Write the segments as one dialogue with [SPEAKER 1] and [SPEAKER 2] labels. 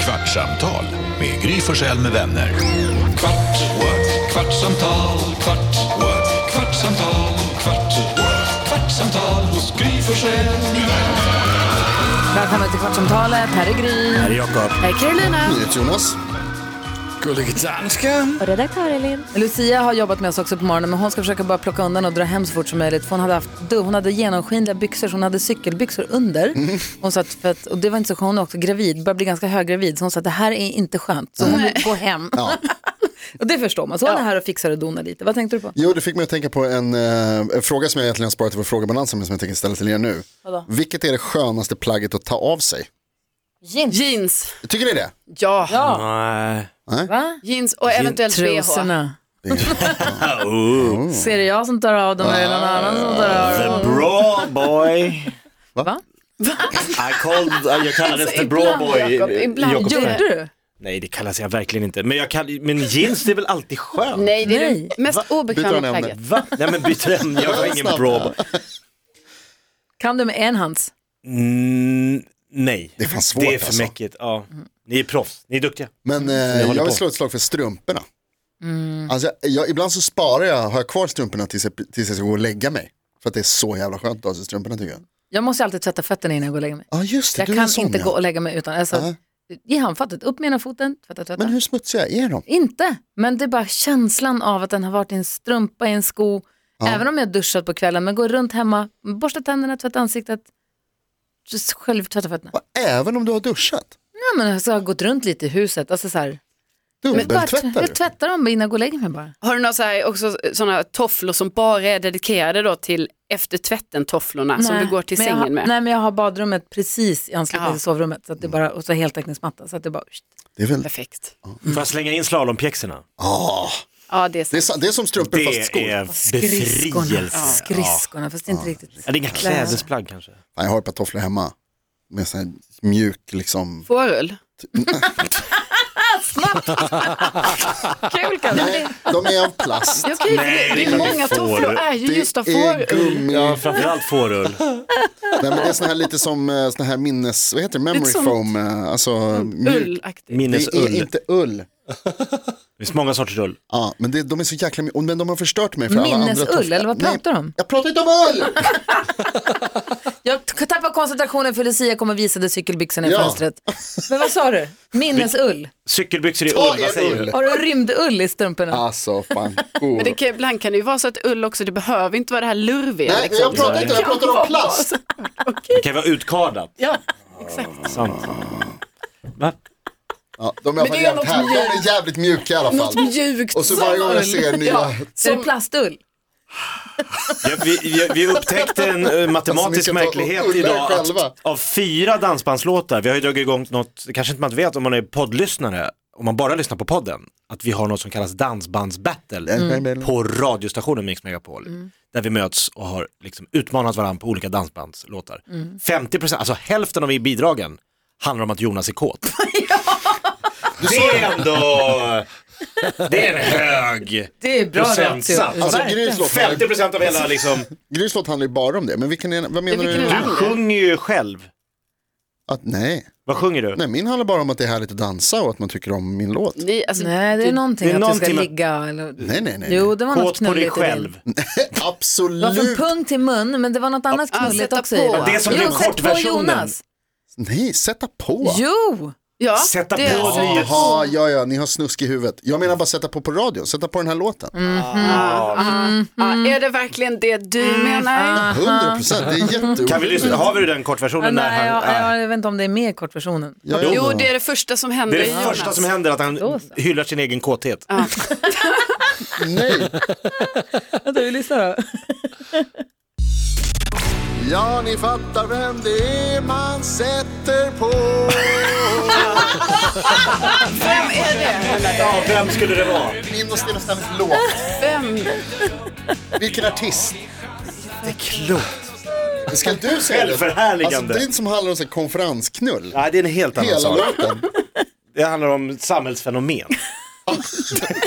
[SPEAKER 1] Kvartsamtal med Gry Forssell med vänner. Kvart, what? kvartsamtal, kvart, what? kvartsamtal, kvart, what? kvartsamtal hos Gry Forssell med vänner.
[SPEAKER 2] Välkommen till Kvartsamtalet. Här är Gry. Här är Jakob. Här är Carolina.
[SPEAKER 3] Jonas. Gullige danska.
[SPEAKER 4] Och redaktör Elin.
[SPEAKER 2] Lucia har jobbat med oss också på morgonen, men hon ska försöka bara plocka undan och dra hem så fort som möjligt. För hon hade, haft, du, hon hade genomskinliga byxor, så hon hade cykelbyxor under. Hon satt för att, och det var inte så skönt, hon är också gravid, började bli ganska höggravid. Så hon sa att det här är inte skönt, så hon vill gå hem. och det förstår man, så hon är här och fixar och donar lite. Vad tänkte du på?
[SPEAKER 3] Jo, det fick mig att tänka på en, eh, en fråga som jag egentligen har sparat i vår frågebalans men som jag tänker ställa till er nu.
[SPEAKER 2] Vadå?
[SPEAKER 3] Vilket är det skönaste plagget att ta av sig?
[SPEAKER 2] Jeans.
[SPEAKER 5] Jeans,
[SPEAKER 3] Tycker ni det?
[SPEAKER 5] ja.
[SPEAKER 2] Ja,
[SPEAKER 6] Nej.
[SPEAKER 2] va?
[SPEAKER 5] Jeans och eventuellt bh.
[SPEAKER 2] Trosorna. Oh. Ser det jag som tar av dem eller någon annan som tar av dem?
[SPEAKER 6] The bra boy.
[SPEAKER 2] Va?
[SPEAKER 6] I called, uh, jag kallades the bra boy. eh,
[SPEAKER 5] Jakob, ibland.
[SPEAKER 6] Jakob.
[SPEAKER 2] Gjorde du?
[SPEAKER 6] Nej, det kallas jag verkligen inte. Men, jag kall, men jeans, det är väl alltid skönt?
[SPEAKER 5] Nej, det är
[SPEAKER 2] Nej.
[SPEAKER 5] det mest
[SPEAKER 3] Byter
[SPEAKER 5] obekväma
[SPEAKER 3] han ämne?
[SPEAKER 5] plagget.
[SPEAKER 6] Va? Nej men byt ämne, jag var ingen bra boy.
[SPEAKER 2] Kan du med en hands?
[SPEAKER 6] Mm, nej.
[SPEAKER 3] Det är fan svårt,
[SPEAKER 6] Det är för
[SPEAKER 3] alltså.
[SPEAKER 6] mäckigt, ja. Ni är proffs, ni är duktiga.
[SPEAKER 3] Men eh,
[SPEAKER 6] håller
[SPEAKER 3] jag vill
[SPEAKER 6] på.
[SPEAKER 3] slå ett slag för strumporna.
[SPEAKER 2] Mm.
[SPEAKER 3] Alltså, jag, jag, ibland så sparar jag, har jag kvar strumporna tills jag, tills jag ska gå och lägga mig. För att det är så jävla skönt att ha sig strumporna tycker jag.
[SPEAKER 2] Jag måste alltid tvätta fötterna innan jag går och lägger mig.
[SPEAKER 3] Ja ah, just det,
[SPEAKER 2] Jag
[SPEAKER 3] du är
[SPEAKER 2] kan
[SPEAKER 3] en sån,
[SPEAKER 2] inte
[SPEAKER 3] ja.
[SPEAKER 2] gå och lägga mig utan, alltså,
[SPEAKER 3] Nej.
[SPEAKER 2] i handfatet, upp med ena foten, tvätta, tvätta.
[SPEAKER 3] Men hur smutsiga är de?
[SPEAKER 2] Inte, men det är bara känslan av att den har varit i en strumpa, i en sko, även om jag duschat på kvällen, men går runt hemma, borsta tänderna, tvätta ansiktet, just själv tvätta fötterna.
[SPEAKER 3] Och även om du har duschat?
[SPEAKER 2] Nej, men alltså, jag har gått runt lite i huset, alltså så här, bara,
[SPEAKER 3] Dubbeltvättar du?
[SPEAKER 2] jag tvättar dem innan jag går och lägger mig bara.
[SPEAKER 5] Har du några så här, också sådana tofflor som bara är dedikerade då till efter tvätten tofflorna som
[SPEAKER 2] Nej,
[SPEAKER 5] du går till
[SPEAKER 2] men jag
[SPEAKER 5] sängen
[SPEAKER 2] har,
[SPEAKER 5] med?
[SPEAKER 2] Nej, men jag har badrummet precis i anslutning
[SPEAKER 5] Ja.
[SPEAKER 2] till sovrummet, så att det är
[SPEAKER 3] Mm.
[SPEAKER 2] bara, och så heltäckningsmatta, så att det är bara,
[SPEAKER 3] Det är väl,
[SPEAKER 5] Perfekt.
[SPEAKER 6] Får jag slänga in slalompjäxorna?
[SPEAKER 3] ah,
[SPEAKER 5] Ja, det är
[SPEAKER 3] det, är,
[SPEAKER 5] sant.
[SPEAKER 3] sa- det är som strumpor
[SPEAKER 6] Det
[SPEAKER 3] fast skor.
[SPEAKER 6] är
[SPEAKER 2] skridskorna,
[SPEAKER 6] befrielse. Ja.
[SPEAKER 2] skridskorna, fast det är inte riktigt.
[SPEAKER 6] Ja, det är inga klädesplagg kanske.
[SPEAKER 3] Fan, jag har ett par tofflor hemma. Med sån här mjuk liksom.
[SPEAKER 5] Fårull.
[SPEAKER 2] Kul kanske.
[SPEAKER 3] Nej, de är av plast.
[SPEAKER 5] Ja, okej,
[SPEAKER 6] Nej,
[SPEAKER 5] för det, det
[SPEAKER 6] det är
[SPEAKER 5] är
[SPEAKER 6] klart
[SPEAKER 5] många
[SPEAKER 6] det är fårull.
[SPEAKER 5] tofflor är ju just av
[SPEAKER 3] Det är
[SPEAKER 5] fårull.
[SPEAKER 3] gummi.
[SPEAKER 6] Ja, framförallt fårull.
[SPEAKER 3] Nej, men det är sån här lite som eh, sån här minnes, vad heter det, memory
[SPEAKER 5] Lite som-
[SPEAKER 3] foam. eh, Alltså mjuk.
[SPEAKER 5] Ullaktigt.
[SPEAKER 3] Det är
[SPEAKER 6] Minnesull.
[SPEAKER 3] inte ull.
[SPEAKER 6] Det finns många sorters ull.
[SPEAKER 3] Ja, men det, de är så jäkla, mjuk- men de har förstört mig för alla andra
[SPEAKER 2] Minnesull,
[SPEAKER 3] tofflor.
[SPEAKER 2] eller vad
[SPEAKER 3] Nej,
[SPEAKER 2] pratar du om?
[SPEAKER 3] Jag pratar inte om ull!
[SPEAKER 2] Jag t- tappar koncentrationen för Lucia kommer visade cykelbyxorna i
[SPEAKER 3] Ja.
[SPEAKER 2] fönstret. Men vad sa du? Minnesull?
[SPEAKER 6] Cykelbyxor är
[SPEAKER 3] Ta
[SPEAKER 6] ull, vad
[SPEAKER 3] er
[SPEAKER 6] säger
[SPEAKER 3] ull!
[SPEAKER 6] du?
[SPEAKER 2] Har du rymdull i strumporna?
[SPEAKER 3] Alltså fan.
[SPEAKER 5] Men det kan, ibland kan det ju vara så att ull också, det behöver inte vara det här lurviga.
[SPEAKER 3] Nej,
[SPEAKER 5] liksom.
[SPEAKER 3] jag pratar inte, jag pratar om plast.
[SPEAKER 6] Det kan vara utkardat.
[SPEAKER 5] Ja, exakt.
[SPEAKER 6] Sant. Va?
[SPEAKER 3] Ja, de är, i alla
[SPEAKER 5] Men
[SPEAKER 3] fall jävligt
[SPEAKER 5] det är något
[SPEAKER 3] här. de är
[SPEAKER 5] mjukt.
[SPEAKER 3] jävligt mjuka i alla fall.
[SPEAKER 5] Något mjukt.
[SPEAKER 3] Och så varje gång jag ser nya,
[SPEAKER 5] Ja.
[SPEAKER 2] Är det plastull?
[SPEAKER 6] Ja, vi, vi, vi upptäckte en eh, matematisk
[SPEAKER 3] Alltså, ni ska ta
[SPEAKER 6] märklighet
[SPEAKER 3] och ulla er
[SPEAKER 6] idag.
[SPEAKER 3] själva.
[SPEAKER 6] Att, av fyra dansbandslåtar, vi har ju dragit igång något, det kanske inte man vet om man är poddlyssnare, om man bara lyssnar på podden, att vi har något som kallas
[SPEAKER 3] Mm.
[SPEAKER 6] dansbandsbattle
[SPEAKER 5] Mm.
[SPEAKER 6] på radiostationen Mix Megapol.
[SPEAKER 2] Mm.
[SPEAKER 6] Där vi möts och har liksom utmanat varandra på olika dansbandslåtar.
[SPEAKER 2] Mm.
[SPEAKER 6] 50%, alltså hälften av bidragen handlar om att Jonas är kåt. Det är ändå, det är en hög
[SPEAKER 2] Det är bra
[SPEAKER 6] procentsats.
[SPEAKER 2] ratio.
[SPEAKER 3] alltså
[SPEAKER 2] Verkligen.
[SPEAKER 3] Grys låt,
[SPEAKER 6] 50% av hela liksom
[SPEAKER 3] Grys låt handlar ju bara om det, men vilken är, vad menar
[SPEAKER 5] vilken
[SPEAKER 3] du?
[SPEAKER 5] är
[SPEAKER 6] Du sjunger ju själv.
[SPEAKER 3] Att, nej.
[SPEAKER 6] Vad sjunger du?
[SPEAKER 3] nej, min handlar bara om att det är härligt att dansa och att man tycker om min låt. Nej,
[SPEAKER 5] Ni, alltså,
[SPEAKER 2] Nej, det är någonting
[SPEAKER 6] det är
[SPEAKER 2] att du ska
[SPEAKER 6] någonting med-
[SPEAKER 2] ligga eller...
[SPEAKER 3] nej, nej. nej.
[SPEAKER 2] Jo, det var något
[SPEAKER 6] Kåt på dig
[SPEAKER 2] knulligt i din.
[SPEAKER 6] själv.
[SPEAKER 2] Det var från
[SPEAKER 3] Absolut.
[SPEAKER 2] pung till mun, men det var något annat knulligt
[SPEAKER 5] sätta
[SPEAKER 2] också
[SPEAKER 5] på.
[SPEAKER 2] i det.
[SPEAKER 6] Det är som
[SPEAKER 2] jo,
[SPEAKER 6] den
[SPEAKER 2] sätt på
[SPEAKER 6] kortversionen.
[SPEAKER 2] Jonas.
[SPEAKER 3] Nej, sätta på.
[SPEAKER 2] Jo!
[SPEAKER 5] ja,
[SPEAKER 6] Sätta
[SPEAKER 5] det-
[SPEAKER 6] på dig.
[SPEAKER 3] Jaha, ja, ja, ni har snusk i huvudet. Jag menar bara sätta på på radion, sätta på den här låten.
[SPEAKER 5] Ja, Ah, är det verkligen det du menar?
[SPEAKER 3] 100 procent, det är
[SPEAKER 6] Kan vi lyssna?
[SPEAKER 3] jätteolyckligt.
[SPEAKER 6] Har vi den kortversionen? när
[SPEAKER 2] Nej, jag,
[SPEAKER 6] han, ah.
[SPEAKER 2] jag, jag vet inte om det är med i kortversionen.
[SPEAKER 3] Ja,
[SPEAKER 5] Jo,
[SPEAKER 3] ja.
[SPEAKER 5] det är det första som
[SPEAKER 6] Det
[SPEAKER 5] händer.
[SPEAKER 6] är
[SPEAKER 5] i
[SPEAKER 6] det
[SPEAKER 5] hjärnan.
[SPEAKER 6] första som händer, att
[SPEAKER 2] Då
[SPEAKER 6] han
[SPEAKER 2] så.
[SPEAKER 6] hyllar sin egen kåthet.
[SPEAKER 3] Nej.
[SPEAKER 2] Vänta, vi lyssnar då.
[SPEAKER 3] Ja, ni fattar vem det är man sätter på.
[SPEAKER 5] Vem är det?
[SPEAKER 6] Ja, vem skulle det vara?
[SPEAKER 3] Min och Sten och Stens låt.
[SPEAKER 5] Vem?
[SPEAKER 3] Vilken artist?
[SPEAKER 6] Det är klokt.
[SPEAKER 3] Ska du säga det?
[SPEAKER 6] Självförhärligande.
[SPEAKER 3] Alltså, det är inte som handlar om så här konferensknull.
[SPEAKER 6] Nej, det är en helt annan
[SPEAKER 3] Hela
[SPEAKER 6] sak.
[SPEAKER 3] låten.
[SPEAKER 6] Det handlar om samhällsfenomen.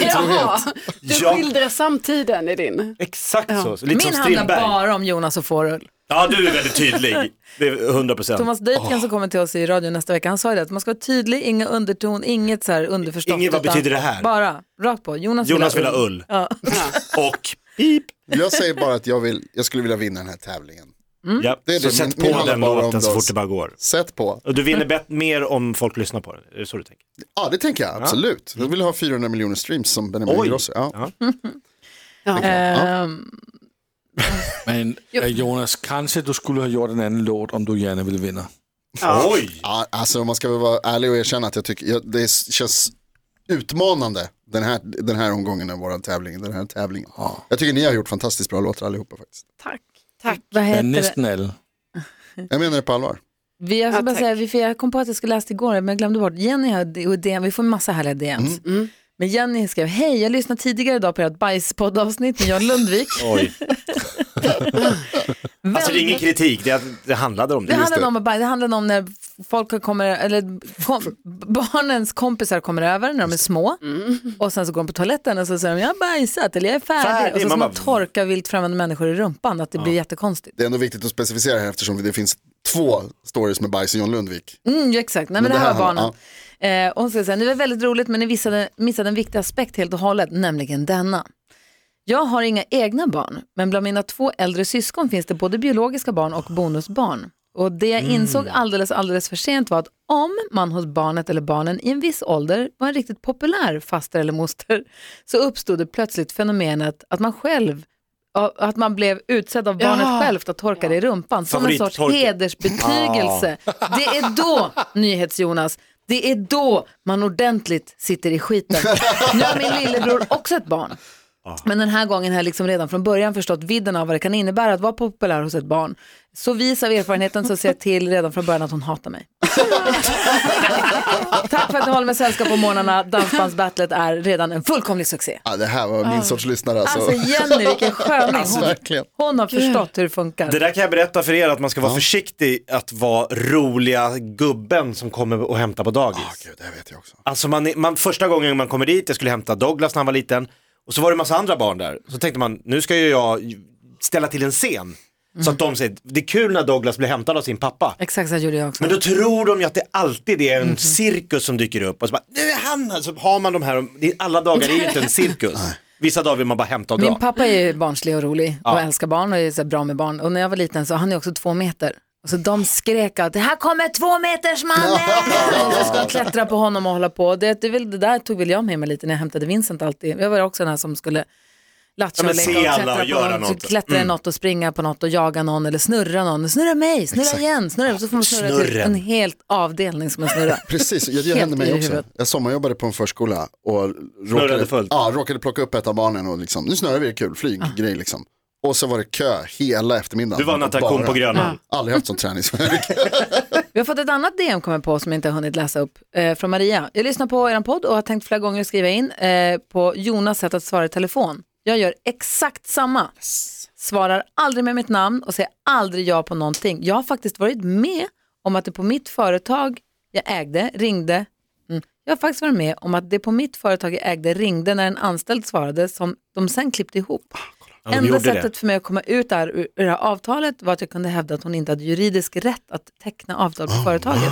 [SPEAKER 5] Ja, du
[SPEAKER 6] Ja.
[SPEAKER 5] skildrar samtiden i din.
[SPEAKER 6] Exakt så, lite
[SPEAKER 2] Min
[SPEAKER 6] som
[SPEAKER 2] handlar
[SPEAKER 6] Strindberg.
[SPEAKER 2] bara om Jonas och fåröl.
[SPEAKER 6] Ja, du är väldigt tydlig. Det är 100 procent.
[SPEAKER 2] Thomas Dytgen som kommer till oss i radion nästa vecka, han sa ju det att man ska vara tydlig, inga underton, inget så här underförstått.
[SPEAKER 6] Inget, vad
[SPEAKER 2] utan
[SPEAKER 6] betyder det här?
[SPEAKER 2] Bara, rakt på. Jonas,
[SPEAKER 6] Jonas vill ha ull.
[SPEAKER 2] Ja.
[SPEAKER 6] Och pip.
[SPEAKER 3] Jag säger bara att jag, vill, jag skulle vilja vinna den här tävlingen.
[SPEAKER 2] Mm.
[SPEAKER 6] Ja.
[SPEAKER 3] Det är
[SPEAKER 6] så
[SPEAKER 3] det,
[SPEAKER 6] sätt
[SPEAKER 3] min-
[SPEAKER 6] på
[SPEAKER 3] min handlar
[SPEAKER 6] den
[SPEAKER 3] bara om
[SPEAKER 6] låten så
[SPEAKER 3] dans.
[SPEAKER 6] fort det bara går.
[SPEAKER 3] Sätt på.
[SPEAKER 6] Och du vinner bet- mer om folk lyssnar på den, är det så du tänker?
[SPEAKER 3] Ja, det tänker jag absolut. Jag vill ha 400 miljoner streams som Benjamin
[SPEAKER 6] Oj.
[SPEAKER 3] Ingrosso. Ja.
[SPEAKER 6] Ja.
[SPEAKER 2] Ehm,
[SPEAKER 4] Men eh, Jonas, kanske du skulle ha gjort en annan låt om du gärna vill vinna.
[SPEAKER 5] Ja.
[SPEAKER 6] Oj!
[SPEAKER 3] Ja, alltså om man ska vara ärlig och erkänna att jag tycker jag, det känns utmanande den här, den här omgången av vår tävling. Den här tävlingen. Jag tycker ni har gjort fantastiskt bra låtar allihopa faktiskt.
[SPEAKER 5] Tack. Tack.
[SPEAKER 2] vad heter
[SPEAKER 4] Men
[SPEAKER 2] det?
[SPEAKER 4] nästan alla.
[SPEAKER 3] Jag menar det på allvar.
[SPEAKER 2] Vi, jag, ska
[SPEAKER 5] Ja,
[SPEAKER 2] bara
[SPEAKER 5] tack.
[SPEAKER 2] säga, vi, för jag kom på att jag skulle läsa det igår, men jag glömde bort. Jenny har d- och DM, vi får en massa härliga DMs.
[SPEAKER 6] Mm,
[SPEAKER 2] Men Jenny skrev, hej, jag lyssnade tidigare idag på ert bajspoddavsnitt med John Lundvik.
[SPEAKER 6] Oj. Alltså det är
[SPEAKER 2] Väldigt-
[SPEAKER 6] ingen kritik, det, är att det handlade om det.
[SPEAKER 2] Det handlade
[SPEAKER 3] det.
[SPEAKER 2] om, att baj- det handlade om när folk kommer, eller kom, barnens kompisar kommer över när de är små och sen så går de på toaletten och så säger de jag har bajsat eller jag är färdig,
[SPEAKER 6] Mm. Färdig,
[SPEAKER 2] och så ska
[SPEAKER 6] man
[SPEAKER 2] man
[SPEAKER 6] bara- "Mm."
[SPEAKER 2] torka vilt främmande människor i rumpan att det blir jättekonstigt.
[SPEAKER 3] Det är ändå viktigt att specificera här eftersom det finns två stories med bajs och John Lundvik.
[SPEAKER 2] Mm, ja, exakt, nej men, det här var barnen.
[SPEAKER 3] handlar-
[SPEAKER 2] Eh, och hon ska säga, det var väldigt roligt men ni missade, missade en viktig aspekt helt och hållet, nämligen denna. Jag har inga egna barn, men bland mina två äldre syskon finns det både biologiska barn och bonusbarn. Och det jag insåg alldeles, alldeles för sent var att om man hos barnet eller barnen i en viss ålder var en riktigt populär faster eller moster så uppstod det plötsligt fenomenet att man själv ja, att man blev utsedd av barnet
[SPEAKER 5] Ja.
[SPEAKER 2] självt att torka det i rumpan som en sorts
[SPEAKER 6] Favorittork.
[SPEAKER 2] hedersbetygelse.
[SPEAKER 6] Ah.
[SPEAKER 2] Det är då, NyhetsJonas, det är då man ordentligt sitter i skiten. Nu har min lillebror också ett barn.
[SPEAKER 6] Ah.
[SPEAKER 2] Men den här gången har jag liksom redan från början förstått vidden av vad det kan innebära att vara populär hos ett barn. Så vis av erfarenheten så ser jag till redan från början att hon hatar mig. Tack för att ni håller mig sällskap på morgnarna. Dansbandsbattlet är redan en fullkomlig succé.
[SPEAKER 3] Ja, det här var min sorts lyssnare alltså.
[SPEAKER 2] Alltså Jenny, vilken sköning. Hon,
[SPEAKER 3] verkligen.
[SPEAKER 2] hon har förstått hur det funkar.
[SPEAKER 6] Det där kan jag berätta för er att man ska vara försiktig att vara roliga gubben som kommer och hämtar på dagis.
[SPEAKER 3] Ah, Gud, det här vet jag också.
[SPEAKER 6] Alltså man, man, första gången man kommer dit, jag skulle hämta Douglas när han var liten, och så var det en massa andra barn där. Så tänkte man, nu ska ju jag ställa till en scen. Så att de säger, det är kul när Douglas blir hämtad av sin pappa.
[SPEAKER 2] Exakt så här gjorde jag också.
[SPEAKER 6] Men då tror de ju att det alltid är en cirkus som dyker upp och så bara, nu är han här, så har man de här, det är- alla dagar är ju inte en cirkus. Vissa dagar vill man bara hämta och dra.
[SPEAKER 2] Min pappa är ju barnslig och rolig och älskar barn och är så här bra med barn. Och när jag var liten så han är också två meter. Och så de skrek att här kommer två meters mannen! Och så skulle jag klättra på honom och hålla på. Det, det, väl- det där tog väl jag med mig lite när jag hämtade Vincent alltid. Jag var också den här som skulle
[SPEAKER 6] Ja,
[SPEAKER 2] lattjo
[SPEAKER 6] men
[SPEAKER 2] och
[SPEAKER 6] se
[SPEAKER 2] länka och
[SPEAKER 6] alla
[SPEAKER 2] klättra
[SPEAKER 6] och göra
[SPEAKER 2] på någon,
[SPEAKER 6] något. Mm.
[SPEAKER 2] så klättra i något och springa på något och jaga någon eller snurra någon. Snurra mig, snurra igen, snurra. Så får man snurra till
[SPEAKER 6] Snurren.
[SPEAKER 2] en helt avdelning som man snurrar.
[SPEAKER 3] Precis, jag, det
[SPEAKER 2] Helt
[SPEAKER 3] hände
[SPEAKER 2] i
[SPEAKER 3] mig också.
[SPEAKER 2] huvudet.
[SPEAKER 3] Jag sommarjobbade på en förskola och
[SPEAKER 6] Snurrade
[SPEAKER 3] råkade,
[SPEAKER 6] fullt.
[SPEAKER 3] ja, råkade plocka upp ett av barnen och liksom, nu snurrar vi, det är kul, flyg,
[SPEAKER 2] Ah.
[SPEAKER 3] grej liksom. Och så var det kö hela eftermiddagen.
[SPEAKER 6] Du var en attraktion
[SPEAKER 3] Bara-
[SPEAKER 6] på Grönan.
[SPEAKER 3] Aldrig haft sån träningsvärk.
[SPEAKER 2] Vi har fått ett annat DM kommer på som jag inte har hunnit läsa upp eh, från Maria. Jag lyssnar på er podd och har tänkt flera gånger skriva in eh, på Jonas sätt att svara i telefon. Jag gör exakt samma. Svarar aldrig med mitt namn och säger aldrig ja på någonting. Jag har faktiskt varit med om att det på mitt företag jag ägde ringde Mm. Jag har faktiskt varit med om att det på mitt företag jag ägde ringde när en anställd svarade som de sen klippte ihop.
[SPEAKER 6] Ja, de
[SPEAKER 2] Enda
[SPEAKER 6] gjorde
[SPEAKER 2] sättet
[SPEAKER 6] det.
[SPEAKER 2] för mig att komma ut där, ur ur det här avtalet var att jag kunde hävda att hon inte hade juridisk rätt att teckna avtal på
[SPEAKER 6] Ah,
[SPEAKER 2] företaget.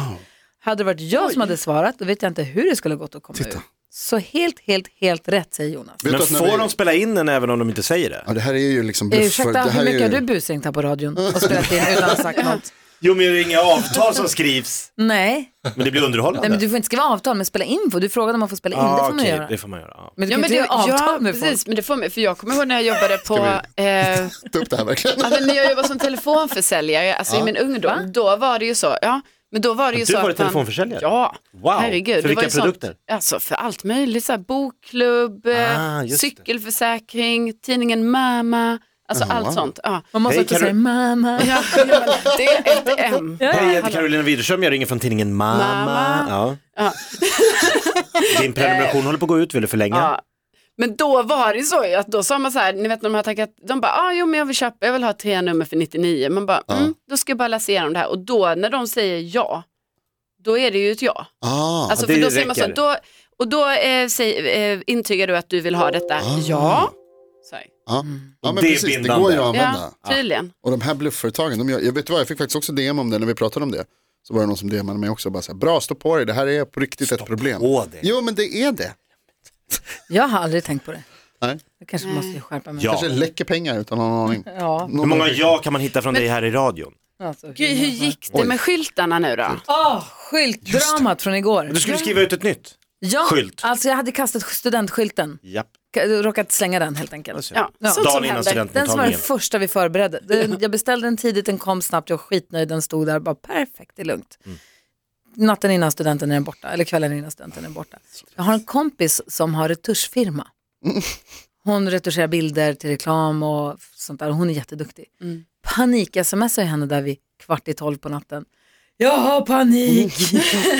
[SPEAKER 2] Hade det varit jag som hade svarat, då vet jag inte hur det skulle ha gått att komma ut. Så helt, helt, helt rätt säger Jonas.
[SPEAKER 3] Vet
[SPEAKER 6] Men
[SPEAKER 3] du att när
[SPEAKER 6] får
[SPEAKER 3] vi-
[SPEAKER 6] de spela in den även om de inte säger det?
[SPEAKER 3] Ja, det här är ju liksom
[SPEAKER 2] Eh,
[SPEAKER 3] bluff.
[SPEAKER 2] Ursäkta,
[SPEAKER 3] det här
[SPEAKER 2] hur mycket
[SPEAKER 3] är
[SPEAKER 2] har
[SPEAKER 3] ju...
[SPEAKER 2] du busringt här på radion och spelat in utan att ha sagt något?
[SPEAKER 6] Jo men det är inga avtal som skrivs.
[SPEAKER 2] Nej.
[SPEAKER 6] Men det blir underhållande.
[SPEAKER 2] Nej, men du får inte skriva avtal, men spela info. Du frågade om man får spela in, det
[SPEAKER 6] ah,
[SPEAKER 2] får man
[SPEAKER 6] okej,
[SPEAKER 2] göra.
[SPEAKER 6] Det får man göra. ja.
[SPEAKER 2] Men du
[SPEAKER 5] Ja,
[SPEAKER 2] kan
[SPEAKER 5] men
[SPEAKER 2] inte
[SPEAKER 5] det,
[SPEAKER 2] göra avtal
[SPEAKER 5] ja,
[SPEAKER 2] med folk.
[SPEAKER 5] precis, men det får mig, för jag kommer ihåg när jag jobbade på, eh,
[SPEAKER 3] Ta upp det här verkligen.
[SPEAKER 2] Alltså-
[SPEAKER 5] ja, men när jag jobbade som telefonförsäljare, alltså i min ungdom, då var det ju så, ja, men då var det ju så
[SPEAKER 6] Du var
[SPEAKER 5] att man-
[SPEAKER 6] telefonförsäljare?
[SPEAKER 5] Ja,
[SPEAKER 6] Wow.
[SPEAKER 5] herregud.
[SPEAKER 6] För
[SPEAKER 5] det
[SPEAKER 6] vilka
[SPEAKER 5] var ju
[SPEAKER 6] produkter?
[SPEAKER 5] Sånt, alltså för allt möjligt, så här, bokklubb, eh,
[SPEAKER 6] Ah, just det.
[SPEAKER 5] cykelförsäkring, tidningen Mama, alltså allt sånt. Ja.
[SPEAKER 2] Man måste
[SPEAKER 6] Hej,
[SPEAKER 2] också
[SPEAKER 6] kan
[SPEAKER 2] säga
[SPEAKER 6] du-
[SPEAKER 2] mamma.
[SPEAKER 5] Ja, ja, men det är ett M.
[SPEAKER 6] Hej, jag heter Carolina Widerström, jag ringer från tidningen Mamma.
[SPEAKER 5] Mamma.
[SPEAKER 6] Ja. Din prenumeration håller på att gå ut, vill du förlänga?
[SPEAKER 5] Ja. Men då var det ju så ju att då sa man så här, ni vet när de har tackat, de bara, ah, jo men jag vill köpa, jag vill ha tre nummer för 99. Man bara, mm, då ska jag bara läsa igenom det här. Och då när de säger ja, då är det ju ett ja.
[SPEAKER 3] Ah,
[SPEAKER 5] Alltså,
[SPEAKER 6] det
[SPEAKER 5] för då säger man så,
[SPEAKER 6] räcker.
[SPEAKER 5] då, Och då eh, säg, eh, intygar du att du vill ha detta?
[SPEAKER 6] Ah.
[SPEAKER 5] Ja. Så. här.
[SPEAKER 3] Ja, ja men
[SPEAKER 6] Det är
[SPEAKER 3] precis, det
[SPEAKER 6] bindande.
[SPEAKER 3] går ju att använda.
[SPEAKER 5] Ja, tydligen.
[SPEAKER 3] Och de här bluffföretagen, de gör, jag vet vad, jag fick faktiskt också DM om det när vi pratade om det. Så var det någon som DMade mig också och bara så här, bra stå på dig, det här är på riktigt ett problem.
[SPEAKER 6] på dig.
[SPEAKER 3] Jo men det är det.
[SPEAKER 2] Jag har aldrig tänkt på det.
[SPEAKER 3] Nej.
[SPEAKER 2] Jag kanske måste skärpa mig.
[SPEAKER 6] Ja.
[SPEAKER 3] Kanske läcker pengar utan någon aning.
[SPEAKER 2] Ja,
[SPEAKER 3] Någon
[SPEAKER 6] Hur många
[SPEAKER 3] aning.
[SPEAKER 6] ja kan man hitta från dig här i radion?
[SPEAKER 2] alltså,
[SPEAKER 5] Gud, hur gick det med skyltarna nu då?
[SPEAKER 2] Åh, skyltdramat Ah, från igår.
[SPEAKER 6] Du skulle skriva ut ett nytt.
[SPEAKER 2] Ja,
[SPEAKER 6] skylt.
[SPEAKER 2] alltså jag hade kastat studentskylten.
[SPEAKER 6] Japp.
[SPEAKER 2] K- Råkat slänga den helt enkelt.
[SPEAKER 5] Ja, sånt som
[SPEAKER 6] Dagen innan
[SPEAKER 2] Den
[SPEAKER 5] händer.
[SPEAKER 2] som var den
[SPEAKER 6] studentmottagningen.
[SPEAKER 2] första vi förberedde. Den, jag beställde den tidigt, den kom snabbt, jag var skitnöjd, den stod där bara perfekt, det är lugnt. Natten innan studenten är den borta, eller kvällen innan studenten är borta. Jag har en kompis som har retuschfirma. Hon retuscherar bilder till reklam och sånt där, hon är jätteduktig. Panik-smsar jag henne där vid kvart i tolv på natten. Jag har panik!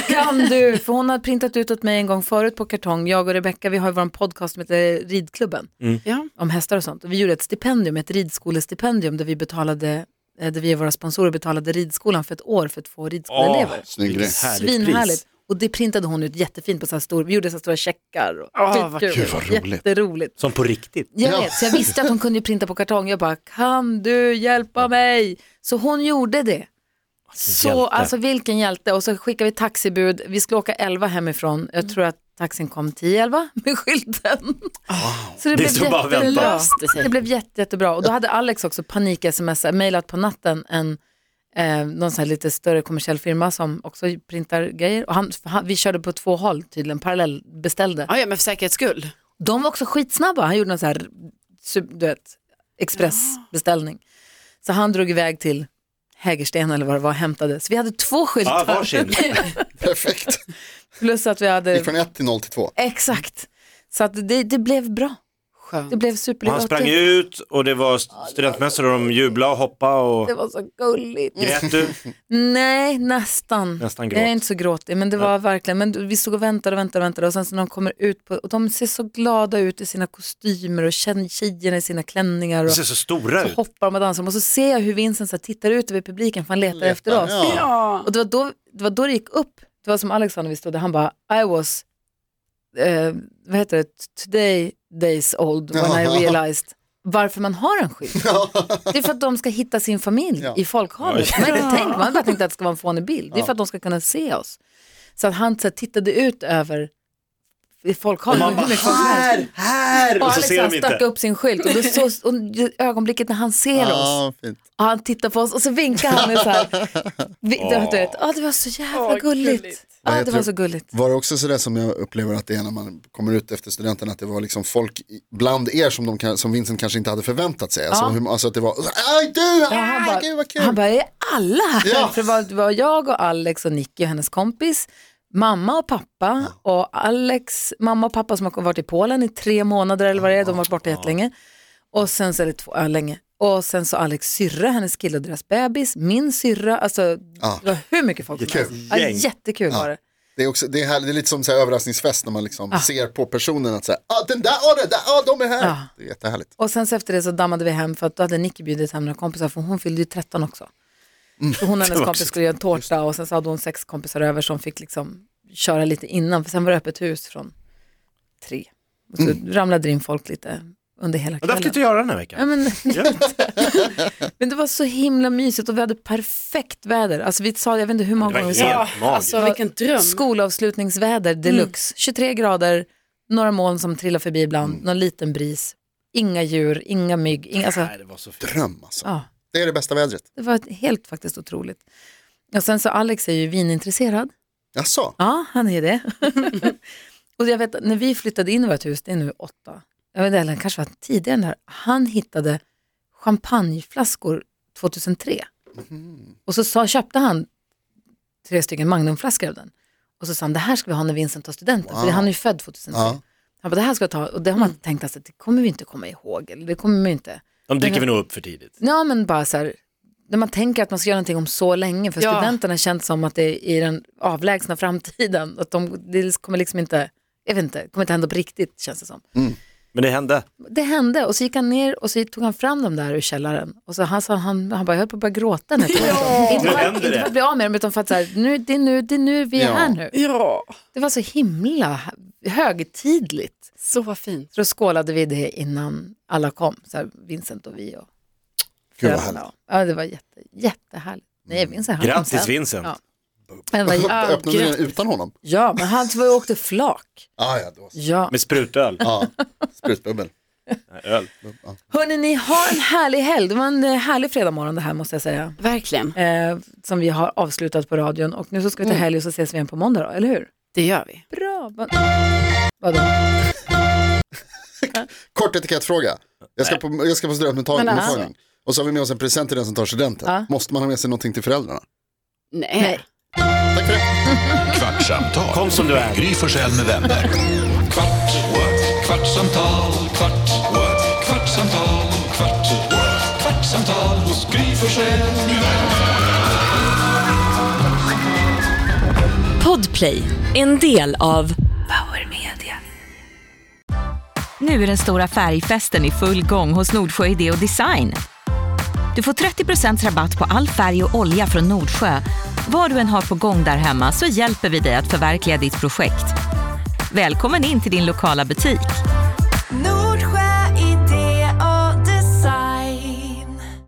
[SPEAKER 2] kan du? För hon har printat ut åt mig en gång förut på kartong, jag och Rebecca, vi har ju vår podcast som heter Ridklubben
[SPEAKER 5] Ja.
[SPEAKER 2] om hästar och sånt. Och vi gjorde ett stipendium, ett ridskolestipendium där vi betalade, eh, där vi och våra sponsorer betalade ridskolan för ett år för två ridskoleelever.
[SPEAKER 3] Snygg grej.
[SPEAKER 6] härligt pris.
[SPEAKER 2] Svinhärligt. Och det printade hon ut jättefint på så här stor, vi gjorde så här stora checkar. Och
[SPEAKER 5] Åh, vad
[SPEAKER 2] skitkul.
[SPEAKER 3] kul, vad roligt.
[SPEAKER 2] Jätteroligt.
[SPEAKER 6] Som på riktigt.
[SPEAKER 2] Jag
[SPEAKER 3] Ja.
[SPEAKER 2] vet, så jag visste att hon kunde ju printa på kartong. Jag bara, kan du hjälpa mig? Så hon gjorde det. Så,
[SPEAKER 6] hjälte.
[SPEAKER 2] alltså vilken hjälte. Och så skickade vi taxibud. Vi skulle åka 11 hemifrån. Jag tror att taxin kom 10-11 med skylten. Så det,
[SPEAKER 6] stod bara och väntade.
[SPEAKER 2] jättelöst.
[SPEAKER 5] Löste sig.
[SPEAKER 2] Det blev jätte, jättebra. Och då hade Alex också panik-sms, mejlat på natten en eh, någon sån här lite större kommersiell firma som också printar grejer. Och han, han, vi körde på två håll tydligen, parallellbeställde.
[SPEAKER 5] Ja, ja, men för säkerhets skull.
[SPEAKER 2] De var också skitsnabba. Han gjorde någon så här sup- du vet, expressbeställning. Så han drog iväg till Hägersten eller vad det var och hämtade. Så vi hade två
[SPEAKER 6] Ja,
[SPEAKER 2] skyltar.
[SPEAKER 6] varsin.
[SPEAKER 3] Perfekt.
[SPEAKER 2] Plus att vi
[SPEAKER 3] Gick
[SPEAKER 2] hade...
[SPEAKER 3] från 1 till 0 till 2.
[SPEAKER 2] Exakt. Så att det, det blev bra.
[SPEAKER 5] Skönt.
[SPEAKER 2] Det blev
[SPEAKER 6] Och han
[SPEAKER 2] superlyckligt.
[SPEAKER 6] sprang ut och det var st- studentmässor och de jublade och hoppade och
[SPEAKER 2] Det var så gulligt.
[SPEAKER 6] grät du.
[SPEAKER 2] Nej, nästan.
[SPEAKER 6] Nästan
[SPEAKER 2] Jag är
[SPEAKER 6] gråt.
[SPEAKER 2] inte så gråtig, men det var verkligen, men vi stod och väntade och väntade och väntade och sen så när de kommer ut på, och de ser så glada ut i sina kostymer och tjej- tjejerna i sina klänningar.
[SPEAKER 6] De
[SPEAKER 2] Och...
[SPEAKER 6] ser så stora ut.
[SPEAKER 2] så hoppar de och dansar och så ser jag hur Vincent så här, tittar ut över publiken för han letar, efter oss.
[SPEAKER 3] ja.
[SPEAKER 2] Och det var, då, det var då det gick upp, det var som Alex sa när vi stod där, han bara I was, eh, vad heter det, today days old when I
[SPEAKER 3] Ja.
[SPEAKER 2] realized varför man har en skylt. Det är för att de ska hitta sin familj
[SPEAKER 3] Ja.
[SPEAKER 2] i folkhavet. Man har inte tänkt, man har bara tänkt att det ska vara en fånig bild. Det är för att de ska kunna se oss. Så att han så här, tittade ut över i folkhavet. Liksom,
[SPEAKER 6] Man
[SPEAKER 2] hur
[SPEAKER 6] bara,
[SPEAKER 2] mycket folk som helst.
[SPEAKER 6] här, här!
[SPEAKER 2] Och
[SPEAKER 6] Och så
[SPEAKER 2] Alex
[SPEAKER 6] ser
[SPEAKER 2] han
[SPEAKER 6] de
[SPEAKER 2] liksom stack
[SPEAKER 6] inte.
[SPEAKER 2] upp sin skylt och, då så, och ögonblicket när han ser oss
[SPEAKER 3] Ja, fint.
[SPEAKER 2] och han tittar på oss och så vinkar han med så här. Vi, oh. du vet, ah, det var så jävla gulligt. Ja,
[SPEAKER 3] Jag
[SPEAKER 2] det
[SPEAKER 3] tror-
[SPEAKER 2] var så gulligt.
[SPEAKER 3] Var det också sådär som jag upplever att det är när man kommer ut efter studenten, att det var liksom folk i- bland er som, de, kan- som Vincent kanske inte hade förväntat sig? Alltså, hur, alltså att det var, aj du,
[SPEAKER 2] Ja,
[SPEAKER 3] aj,
[SPEAKER 2] han, bara,
[SPEAKER 3] gud vad kul.
[SPEAKER 2] han bara, är alla här?
[SPEAKER 3] Ja.
[SPEAKER 2] För det var, det var jag och Alex och Nicky, hennes kompis, mamma och pappa och Alex, mamma och pappa som har varit i Polen i tre månader eller vad det är, de har varit borta jättelänge. Och sen så, eller två, ja, länge. Och sen så Alex syrra, hennes kille och deras bebis, min syrra, alltså
[SPEAKER 3] Ja.
[SPEAKER 2] det var hur mycket folk som
[SPEAKER 3] Kul.
[SPEAKER 2] helst. Ja,
[SPEAKER 6] Gäng.
[SPEAKER 2] jättekul var det.
[SPEAKER 3] Det är, också, det, är här, det är lite som så här överraskningsfest när man liksom ser på personen att säga, ah, den där, ah, den där, ah, de är här.
[SPEAKER 2] Ja.
[SPEAKER 3] Det är jättehärligt.
[SPEAKER 2] Och sen så efter det så dammade vi hem för att då hade Nicky bjudit hem några kompisar för hon fyllde ju 13 också.
[SPEAKER 6] Mm.
[SPEAKER 2] Så hon och hennes kompis skulle göra en tårta och sen så hade hon sex kompisar över som fick liksom köra lite innan för sen var det öppet hus från tre. Och så ramlade det in folk lite under hela
[SPEAKER 6] Och Mm. det har haft
[SPEAKER 2] kvällen.
[SPEAKER 6] lite att göra den här
[SPEAKER 2] Ja,
[SPEAKER 6] veckan.
[SPEAKER 2] men,
[SPEAKER 6] Ja.
[SPEAKER 2] men det var så himla mysigt och vi hade perfekt väder. Alltså vi sa, jag vet inte hur många
[SPEAKER 6] var
[SPEAKER 2] gånger vi
[SPEAKER 6] helt-
[SPEAKER 2] sa,
[SPEAKER 5] Ja,
[SPEAKER 6] Magiskt.
[SPEAKER 5] alltså vilken dröm.
[SPEAKER 2] skolavslutningsväder deluxe, 23 grader, några moln som trillar förbi ibland, någon liten bris, inga djur, inga mygg, inga, alltså,
[SPEAKER 6] Nej, det var så fint.
[SPEAKER 3] Dröm alltså.
[SPEAKER 2] ja.
[SPEAKER 3] Det är det bästa vädret.
[SPEAKER 2] Det var helt faktiskt otroligt. Och sen så Alex är ju vinintresserad.
[SPEAKER 3] Jaså?
[SPEAKER 2] Ja, han är det. och jag vet att när vi flyttade in i vårt hus, det är nu åtta, jag vet inte, eller kanske var tidigare än det här, han hittade champagneflaskor 2003.
[SPEAKER 3] Mhm.
[SPEAKER 2] Och så sa, köpte han tre stycken magnumflaskor av den. Och så sa han, det här ska vi ha när Vincent tar studenten, för
[SPEAKER 3] Wow.
[SPEAKER 2] han är ju född 2003.
[SPEAKER 3] Ja. Mm.
[SPEAKER 2] Han bara, det här ska jag ta, och det har man tänkt att det kommer vi inte komma ihåg, eller det kommer vi inte.
[SPEAKER 6] De dricker vi nog upp för tidigt.
[SPEAKER 2] Ja men bara så här, när man tänker att man ska göra någonting om så länge, för
[SPEAKER 5] Ja.
[SPEAKER 2] studenterna känns som att det är i den avlägsna framtiden, att de, det kommer liksom inte, jag vet inte, kommer inte hända på riktigt känns det som.
[SPEAKER 6] Men det hände.
[SPEAKER 2] Det hände och så gick han ner och så tog han fram dem där ur källaren och så han sa, han, han bara, jag höll på att börja gråta när jag tog ja. Inte
[SPEAKER 6] Nu
[SPEAKER 2] för att-
[SPEAKER 6] händer
[SPEAKER 2] inte för
[SPEAKER 6] det.
[SPEAKER 2] att bli av med dem utan för att så här, nu, det är nu, det är nu vi är
[SPEAKER 3] Ja.
[SPEAKER 2] här nu.
[SPEAKER 5] Ja.
[SPEAKER 2] Det var så himla högtidligt.
[SPEAKER 5] Så fint.
[SPEAKER 2] Så då skålade vi det innan alla kom, så här, Vincent och vi och
[SPEAKER 3] Gud vad härligt. Mm.
[SPEAKER 2] föräldrarna. Ja, det var jätte, jättehärligt. Nej, Vincent han kom
[SPEAKER 6] Grattis,
[SPEAKER 2] sen.
[SPEAKER 6] Vincent.
[SPEAKER 2] Ja. Men det var, jä-
[SPEAKER 3] Öppnade ni den utan honom?
[SPEAKER 2] ja, men han var ju och åkte flak.
[SPEAKER 3] Ah, ja, då. så.
[SPEAKER 2] Ja.
[SPEAKER 6] Med sprutöl.
[SPEAKER 3] Ja, sprutbubbel.
[SPEAKER 6] Nej, Öl.
[SPEAKER 2] Hörni, ni har en härlig helg. Det var en eh, härlig fredagmorgon det här måste jag säga.
[SPEAKER 5] Verkligen,
[SPEAKER 2] Eh, som vi har avslutat på radion och nu så ska vi
[SPEAKER 3] Mm.
[SPEAKER 2] ta helg och så ses vi igen på måndag då, eller hur?
[SPEAKER 5] det gör vi.
[SPEAKER 2] Bra. Va- Vadå?
[SPEAKER 3] Kort etikettfråga. Jag ska på, jag ska på
[SPEAKER 2] Men
[SPEAKER 3] studentmottagning.
[SPEAKER 2] alltså.
[SPEAKER 3] mottagning. Och så har vi med oss en present till den som tar studenten.
[SPEAKER 2] Ja.
[SPEAKER 3] Måste man ha med sig någonting till föräldrarna?
[SPEAKER 5] Nej.
[SPEAKER 3] Tack för det.
[SPEAKER 1] Kvartsamtal.
[SPEAKER 6] Kom som du är.
[SPEAKER 1] med Gry Forssell med vänner. Kvart, what? kvartsamtal, kvart, what? kvartsamtal, kvart, what? kvartsamtal hos Gry Forssell med vänner.
[SPEAKER 7] Podplay, en del av Power Media.
[SPEAKER 8] Nu är den stora färgfesten i full gång hos Nordsjö Idé och Design. Du får 30 rabatt på all färg och olja från Nordsjö. Vad du än har på gång där hemma så hjälper vi dig att förverkliga ditt projekt. Välkommen in till din lokala butik.